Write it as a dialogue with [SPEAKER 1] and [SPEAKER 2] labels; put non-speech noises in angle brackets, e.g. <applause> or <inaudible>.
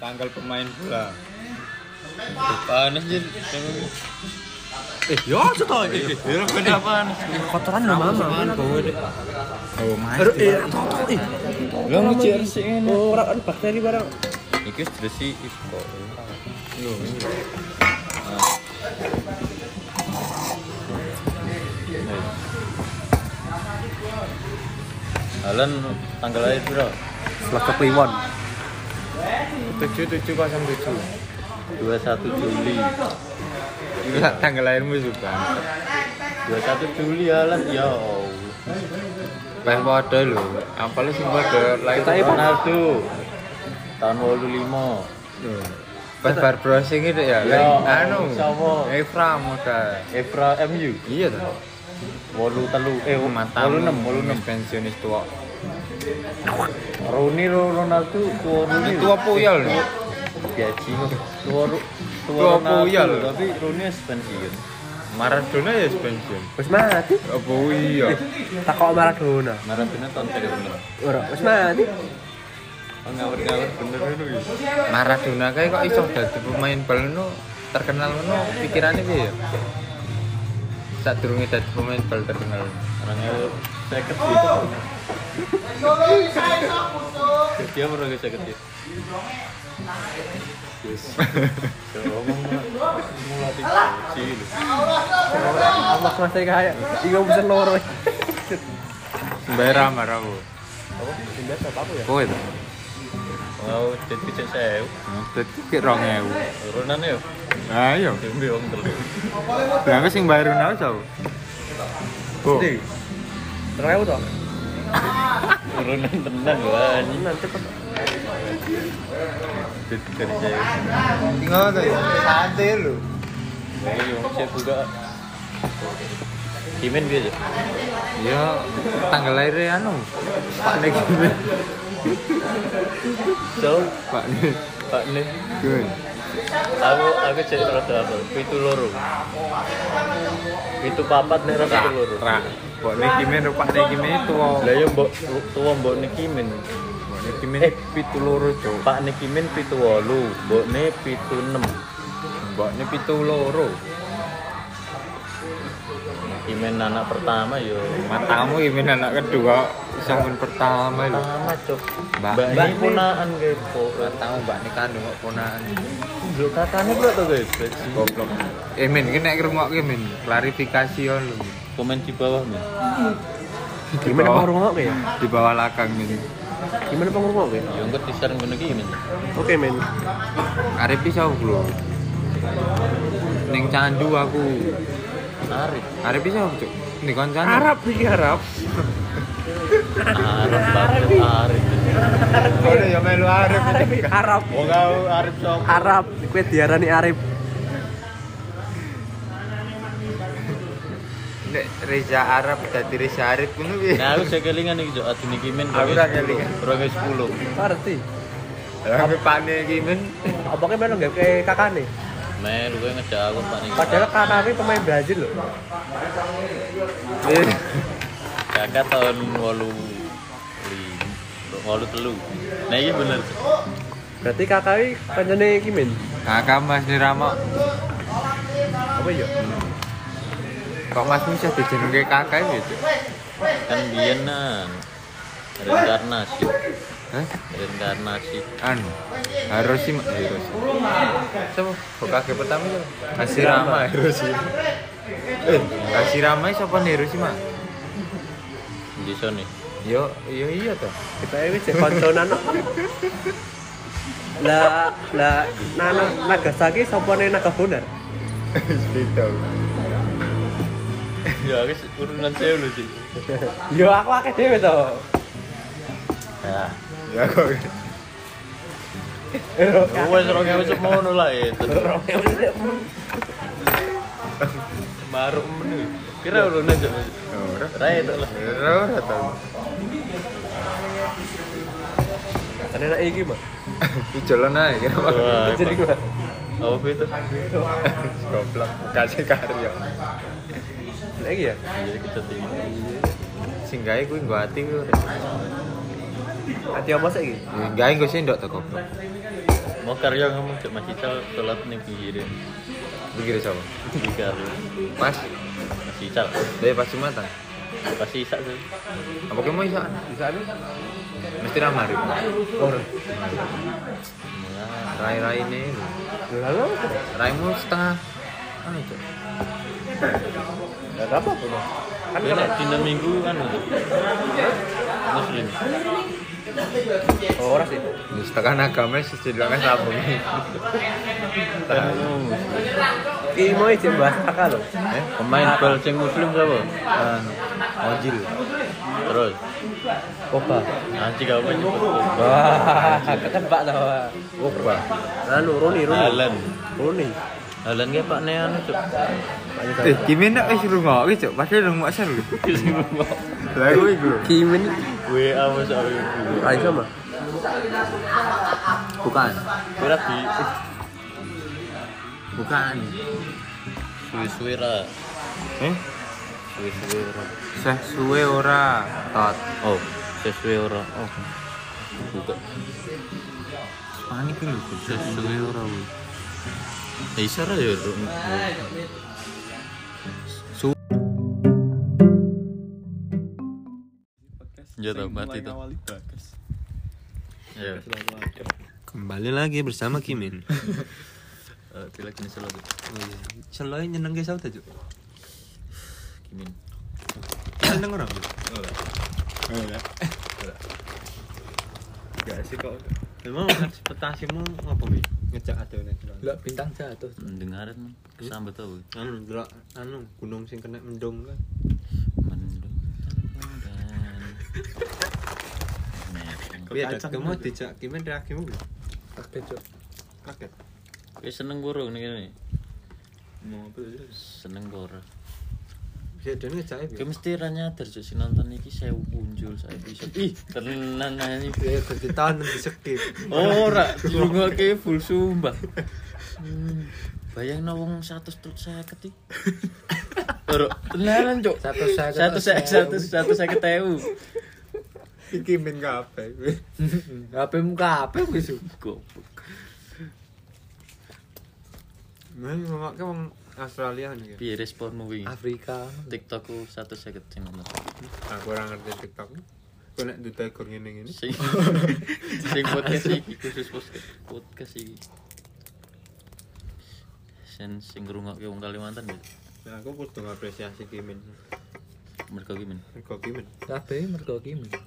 [SPEAKER 1] tanggal pemain bola. Panas jin.
[SPEAKER 2] Eh, yo coba.
[SPEAKER 1] Ya kenapa?
[SPEAKER 2] Kotoran udah mama.
[SPEAKER 1] Oh, mas.
[SPEAKER 2] Aduh, eh,
[SPEAKER 3] iya,
[SPEAKER 2] toto eh.
[SPEAKER 1] Lo nguci resik ini.
[SPEAKER 2] Ora ada bakteri barang.
[SPEAKER 1] Iki wis resik iki kok. Yo. Alan tanggal lahir bro
[SPEAKER 2] Selak kliwon.
[SPEAKER 1] 7707 21 Juli Itu
[SPEAKER 3] Iya,
[SPEAKER 1] tanggal lahirmu juga 21 Juli Alan ya Allah Lah padha lho, apale sing padha lahir
[SPEAKER 2] Ketake padha.
[SPEAKER 1] Ronaldo. Tahun 85.
[SPEAKER 3] Pas bar browsing itu ya,
[SPEAKER 1] Ya,
[SPEAKER 3] lain anu.
[SPEAKER 1] sama.
[SPEAKER 3] Efra muda.
[SPEAKER 1] Evra MU.
[SPEAKER 3] Iya tuh.
[SPEAKER 1] 83 eh
[SPEAKER 3] Mata
[SPEAKER 1] 86
[SPEAKER 3] pensionis tua.
[SPEAKER 1] 86. Rooney lo Ronaldo tua Rooney.
[SPEAKER 3] Ini tua puyol nih.
[SPEAKER 1] Gaji. Tua Ru- tua
[SPEAKER 3] Tua
[SPEAKER 1] Ronaldo,
[SPEAKER 3] puyol.
[SPEAKER 1] Tapi Rooney wis pensiun.
[SPEAKER 3] Maradona ya pensiun.
[SPEAKER 2] Wis mati.
[SPEAKER 3] Apa <laughs> iya?
[SPEAKER 2] Takok Maradona.
[SPEAKER 1] Maradona tahun 2000.
[SPEAKER 2] Ora, wis mati.
[SPEAKER 1] Oh ngawur-ngawur bener itu. ya.
[SPEAKER 3] Maradona kayak kok iso dadi pemain bal nu terkenal nu pikirannya piye ya? Tak durunge dadi pemain bal terkenal.
[SPEAKER 2] <laughs>
[SPEAKER 1] Orang ngawur seket gitu. Dia perlu ke seket gitu. Yes. Kalau ngomong mah, mulai dikunci lho.
[SPEAKER 2] Allah mesti kaya. Iku bisa loro.
[SPEAKER 3] Mbak Rama Rabu.
[SPEAKER 2] ya?
[SPEAKER 3] Kowe tuh.
[SPEAKER 1] Wow, jadi cek saya.
[SPEAKER 3] Dadi ki 2000.
[SPEAKER 1] Turunan ya,
[SPEAKER 3] Ayo.
[SPEAKER 1] demi wong telu.
[SPEAKER 3] Lah iya, wis sing bayar Ronaldo sapa? Oh.
[SPEAKER 2] Terus aku toh.
[SPEAKER 1] Turunan tenang wah.
[SPEAKER 2] Nanti cepet.
[SPEAKER 1] Jadi dari saya.
[SPEAKER 3] Tinggal tuh.
[SPEAKER 2] ya,
[SPEAKER 3] Santai lu.
[SPEAKER 1] Ayo, wong saya buka. Kimen biasa.
[SPEAKER 3] Ya, tanggal lahirnya anu. Pak
[SPEAKER 2] <laughs>
[SPEAKER 3] Nek.
[SPEAKER 1] So,
[SPEAKER 3] Pak Nek.
[SPEAKER 1] Pak Nih,
[SPEAKER 3] Gun.
[SPEAKER 1] aku aku cek rada apa? Pitu loro. Pitu papat nek rada pitu loro.
[SPEAKER 3] Ra. Pak Nek Kimen, Pak Nek Kimen itu.
[SPEAKER 1] Lah ya mbok tuwa mbok Niki Min.
[SPEAKER 3] Pak Nek Kimen
[SPEAKER 1] Eh,
[SPEAKER 3] pitu loro, Cuk.
[SPEAKER 1] Pak Niki Min 78, mbokne 76.
[SPEAKER 3] Mbak ini pitu loro.
[SPEAKER 1] Niki Min anak pertama yo.
[SPEAKER 3] Matamu Kimen anak kedua, sampean pertama lho.
[SPEAKER 1] Pertama, Cuk.
[SPEAKER 3] Mbak-
[SPEAKER 1] Mbak
[SPEAKER 3] Mbak
[SPEAKER 1] ini
[SPEAKER 3] Nik.
[SPEAKER 1] punaan kepo.
[SPEAKER 3] Matamu Mbak ini kandung kok ponaan.
[SPEAKER 1] Lho kakane bro to guys.
[SPEAKER 3] Goblok. Eh men, ki nek ngrungokke men, klarifikasi yo lho.
[SPEAKER 1] Komen di bawah Min.
[SPEAKER 3] Di
[SPEAKER 2] Gimana
[SPEAKER 3] bawah-
[SPEAKER 2] pengrungok ya?
[SPEAKER 3] Di bawah lakang men.
[SPEAKER 2] Gimana pengrungok ya?
[SPEAKER 1] Yo engko di-share ngono iki Min.
[SPEAKER 2] Oke, men.
[SPEAKER 3] Arep iso lho. Ning candu aku.
[SPEAKER 1] Arif.
[SPEAKER 3] Arep iso cuk. Ning koncane.
[SPEAKER 2] Arab iki Arab.
[SPEAKER 1] Arif, Arif. Arif.
[SPEAKER 3] Kowe ya melu arep.
[SPEAKER 2] Arab.
[SPEAKER 1] Wong Oh, kau Arif sapa?
[SPEAKER 2] Arab. Kowe diarani Arab.
[SPEAKER 3] Nek Reza Arab dadi Reza Arif ngono piye?
[SPEAKER 1] Nah, aku saya kelingan iki, Cuk. Adine iki men.
[SPEAKER 3] Aku ra kelingan.
[SPEAKER 1] 10.
[SPEAKER 2] Ngerti.
[SPEAKER 3] Lah pepane iki men.
[SPEAKER 2] Abangnya melu nggak kayak kakane.
[SPEAKER 1] Meh, lu ngejak aku Pak Niki.
[SPEAKER 2] Padahal kakane pemain Brazil loh.
[SPEAKER 3] Eh,
[SPEAKER 1] Kakak tahun walu lim- walu telu. Nah iya bener.
[SPEAKER 2] Berarti kakane pancene iki men.
[SPEAKER 3] Kakak Mas Nirama,
[SPEAKER 2] Apa ya?
[SPEAKER 3] kok Mas bisa dijenenge kakak ya, Cuk?
[SPEAKER 1] Kan bienan. Reinkarnasi.
[SPEAKER 3] Hah?
[SPEAKER 1] Reinkarnasi.
[SPEAKER 3] Anu, Iya, Hiroshima, Hiroshima. Siapa? Hokage pertama itu? Hashirama, Hiroshima. Eh, Hashirama siapa nih Hiroshima?
[SPEAKER 1] Jiso nih.
[SPEAKER 3] Yo, yo iya toh.
[SPEAKER 2] Kita ini cek konconan no. Lah, lah, nana Nagasaki sopone Nagabonar.
[SPEAKER 3] Gitu.
[SPEAKER 1] <laughs> Ya aku se- urunan saya dulu sih.
[SPEAKER 2] Yo aku akeh dhewe to.
[SPEAKER 1] Nah,
[SPEAKER 3] Ya kok.
[SPEAKER 1] gue serong aku cuma mau eh. lah itu. Baru menu. Kira urunan cuma.
[SPEAKER 3] Ora.
[SPEAKER 1] Raya itu lah.
[SPEAKER 3] Ora ora toh.
[SPEAKER 2] Kan enak iki, Mas.
[SPEAKER 3] Di jalan aja kenapa?
[SPEAKER 1] Wah,
[SPEAKER 2] Jadi
[SPEAKER 1] Pak.
[SPEAKER 2] gua
[SPEAKER 1] Apa itu?
[SPEAKER 3] Goblok, kasih karya.
[SPEAKER 2] lagi ya.
[SPEAKER 1] Jadi kita tinggal.
[SPEAKER 3] Singgahe kuwi nggo ati kuwi.
[SPEAKER 2] Ati apa sih iki?
[SPEAKER 3] Singgahe nggo sendok to goblok.
[SPEAKER 1] Mau karya ngomong cek masih cal sholat nih pinggirin.
[SPEAKER 3] Pikir siapa?
[SPEAKER 1] Bisa lu.
[SPEAKER 3] Pas,
[SPEAKER 1] Masih cal.
[SPEAKER 3] dari pas Jumatan.
[SPEAKER 1] Pasti isak tuh.
[SPEAKER 3] Apa kamu bisa? Bisa ada? Mesti ramah hari.
[SPEAKER 2] Orang.
[SPEAKER 1] Mulai.
[SPEAKER 3] Rai-rai ini.
[SPEAKER 2] Lalu
[SPEAKER 3] Nah, Raimu setengah. Ah, itu.
[SPEAKER 2] enggak apa-apa, Bro. Kan
[SPEAKER 1] Gue nak dina minggu kan. lu. Muslim.
[SPEAKER 2] oh, orang sih.
[SPEAKER 3] Ya, Setengah agama sih dibilangnya sabu.
[SPEAKER 1] Kan lu muslim.
[SPEAKER 2] Ini mau izin bahas kakak lo.
[SPEAKER 3] Eh,
[SPEAKER 1] Pemain bal sing muslim siapa?
[SPEAKER 3] eh,
[SPEAKER 1] Ah,
[SPEAKER 3] ojil.
[SPEAKER 1] Terus.
[SPEAKER 2] Koba.
[SPEAKER 1] Nanti kau pun nyebut.
[SPEAKER 2] Wah, ketebak tau. Wak.
[SPEAKER 3] Opa.
[SPEAKER 2] Lalu Roni, Roni.
[SPEAKER 1] Alan.
[SPEAKER 2] Roni.
[SPEAKER 1] Alan ge Pak Nean <laughs> cuk.
[SPEAKER 3] Eh, gimana nak wis rungok iki, Cuk? Padahal rungok seru. Lah kuwi iku.
[SPEAKER 2] Kimin
[SPEAKER 1] WA wis aku ibu.
[SPEAKER 2] Ayo sama.
[SPEAKER 3] Bukan.
[SPEAKER 1] Kira di
[SPEAKER 3] Bukan.
[SPEAKER 1] suwe-suwe ra.
[SPEAKER 3] Eh,
[SPEAKER 1] Suwe-suwe ra.
[SPEAKER 3] seh suwe ora. Tot.
[SPEAKER 1] Oh, sesuwe ora. Oh. Buka.
[SPEAKER 3] Panik iki lho.
[SPEAKER 1] Sesuwe ora. weh. Ya iso ra ya. Ru.
[SPEAKER 3] Su-
[SPEAKER 1] Ya tau mati tau. Ya.
[SPEAKER 2] Kembali lagi bersama <laughs> Kimin. Oh, iya.
[SPEAKER 1] Eh, Pilih gini selalu.
[SPEAKER 2] Selain nyeneng ke saudara juga.
[SPEAKER 1] Kimin.
[SPEAKER 2] <coughs> Nyeneng orang. Eh,
[SPEAKER 3] Gak sih kok.
[SPEAKER 2] Memang ekspektasimu ngapa bi? Ngejak adonan.
[SPEAKER 3] Lah bintang jatuh.
[SPEAKER 1] Dengarin man. kesambet tau. weh.
[SPEAKER 2] Anu, delok anu gunung sing kena mendung kan.
[SPEAKER 1] Mendung dan Mendung.
[SPEAKER 2] Iya, kamu dijak Kimin reaksimu belum?
[SPEAKER 4] Kaget cok
[SPEAKER 2] Kaget.
[SPEAKER 1] Wis seneng boro ngene kene.
[SPEAKER 4] Mau apa aja
[SPEAKER 1] Seneng boro.
[SPEAKER 2] Bisa dia ngejak ya.
[SPEAKER 1] Ki mesti ra nyadar cuk si nonton iki 1000 punjul sak episode. Ih, tenan ae.
[SPEAKER 2] Dia ganti tahun di skip.
[SPEAKER 1] Ora, dirungokke full sumpah. Hmm, Bayangno wong 100 truk 50 iki. Ora, tenanan cuk.
[SPEAKER 2] 150.
[SPEAKER 1] 150 150.000.
[SPEAKER 2] Iki Min kabeh.
[SPEAKER 4] HP muka HP wis
[SPEAKER 1] Goblok.
[SPEAKER 2] Main ngomong ke wong Australia nih.
[SPEAKER 1] Piye responmu wingi?
[SPEAKER 4] Afrika
[SPEAKER 1] TikTokku 150 sing nomor.
[SPEAKER 2] Aku ora ngerti TikTok. Kok nek ditegur ngene-ngene.
[SPEAKER 1] <laughs> Sing sing podcast iki khusus podcast podcast iki. Sen sing ngrungokke wong Kalimantan ya.
[SPEAKER 2] Nah, aku kudu ngapresiasi Kimin.
[SPEAKER 1] Mergo ki men.
[SPEAKER 2] Mergo Kimin.
[SPEAKER 4] KB mergo kimen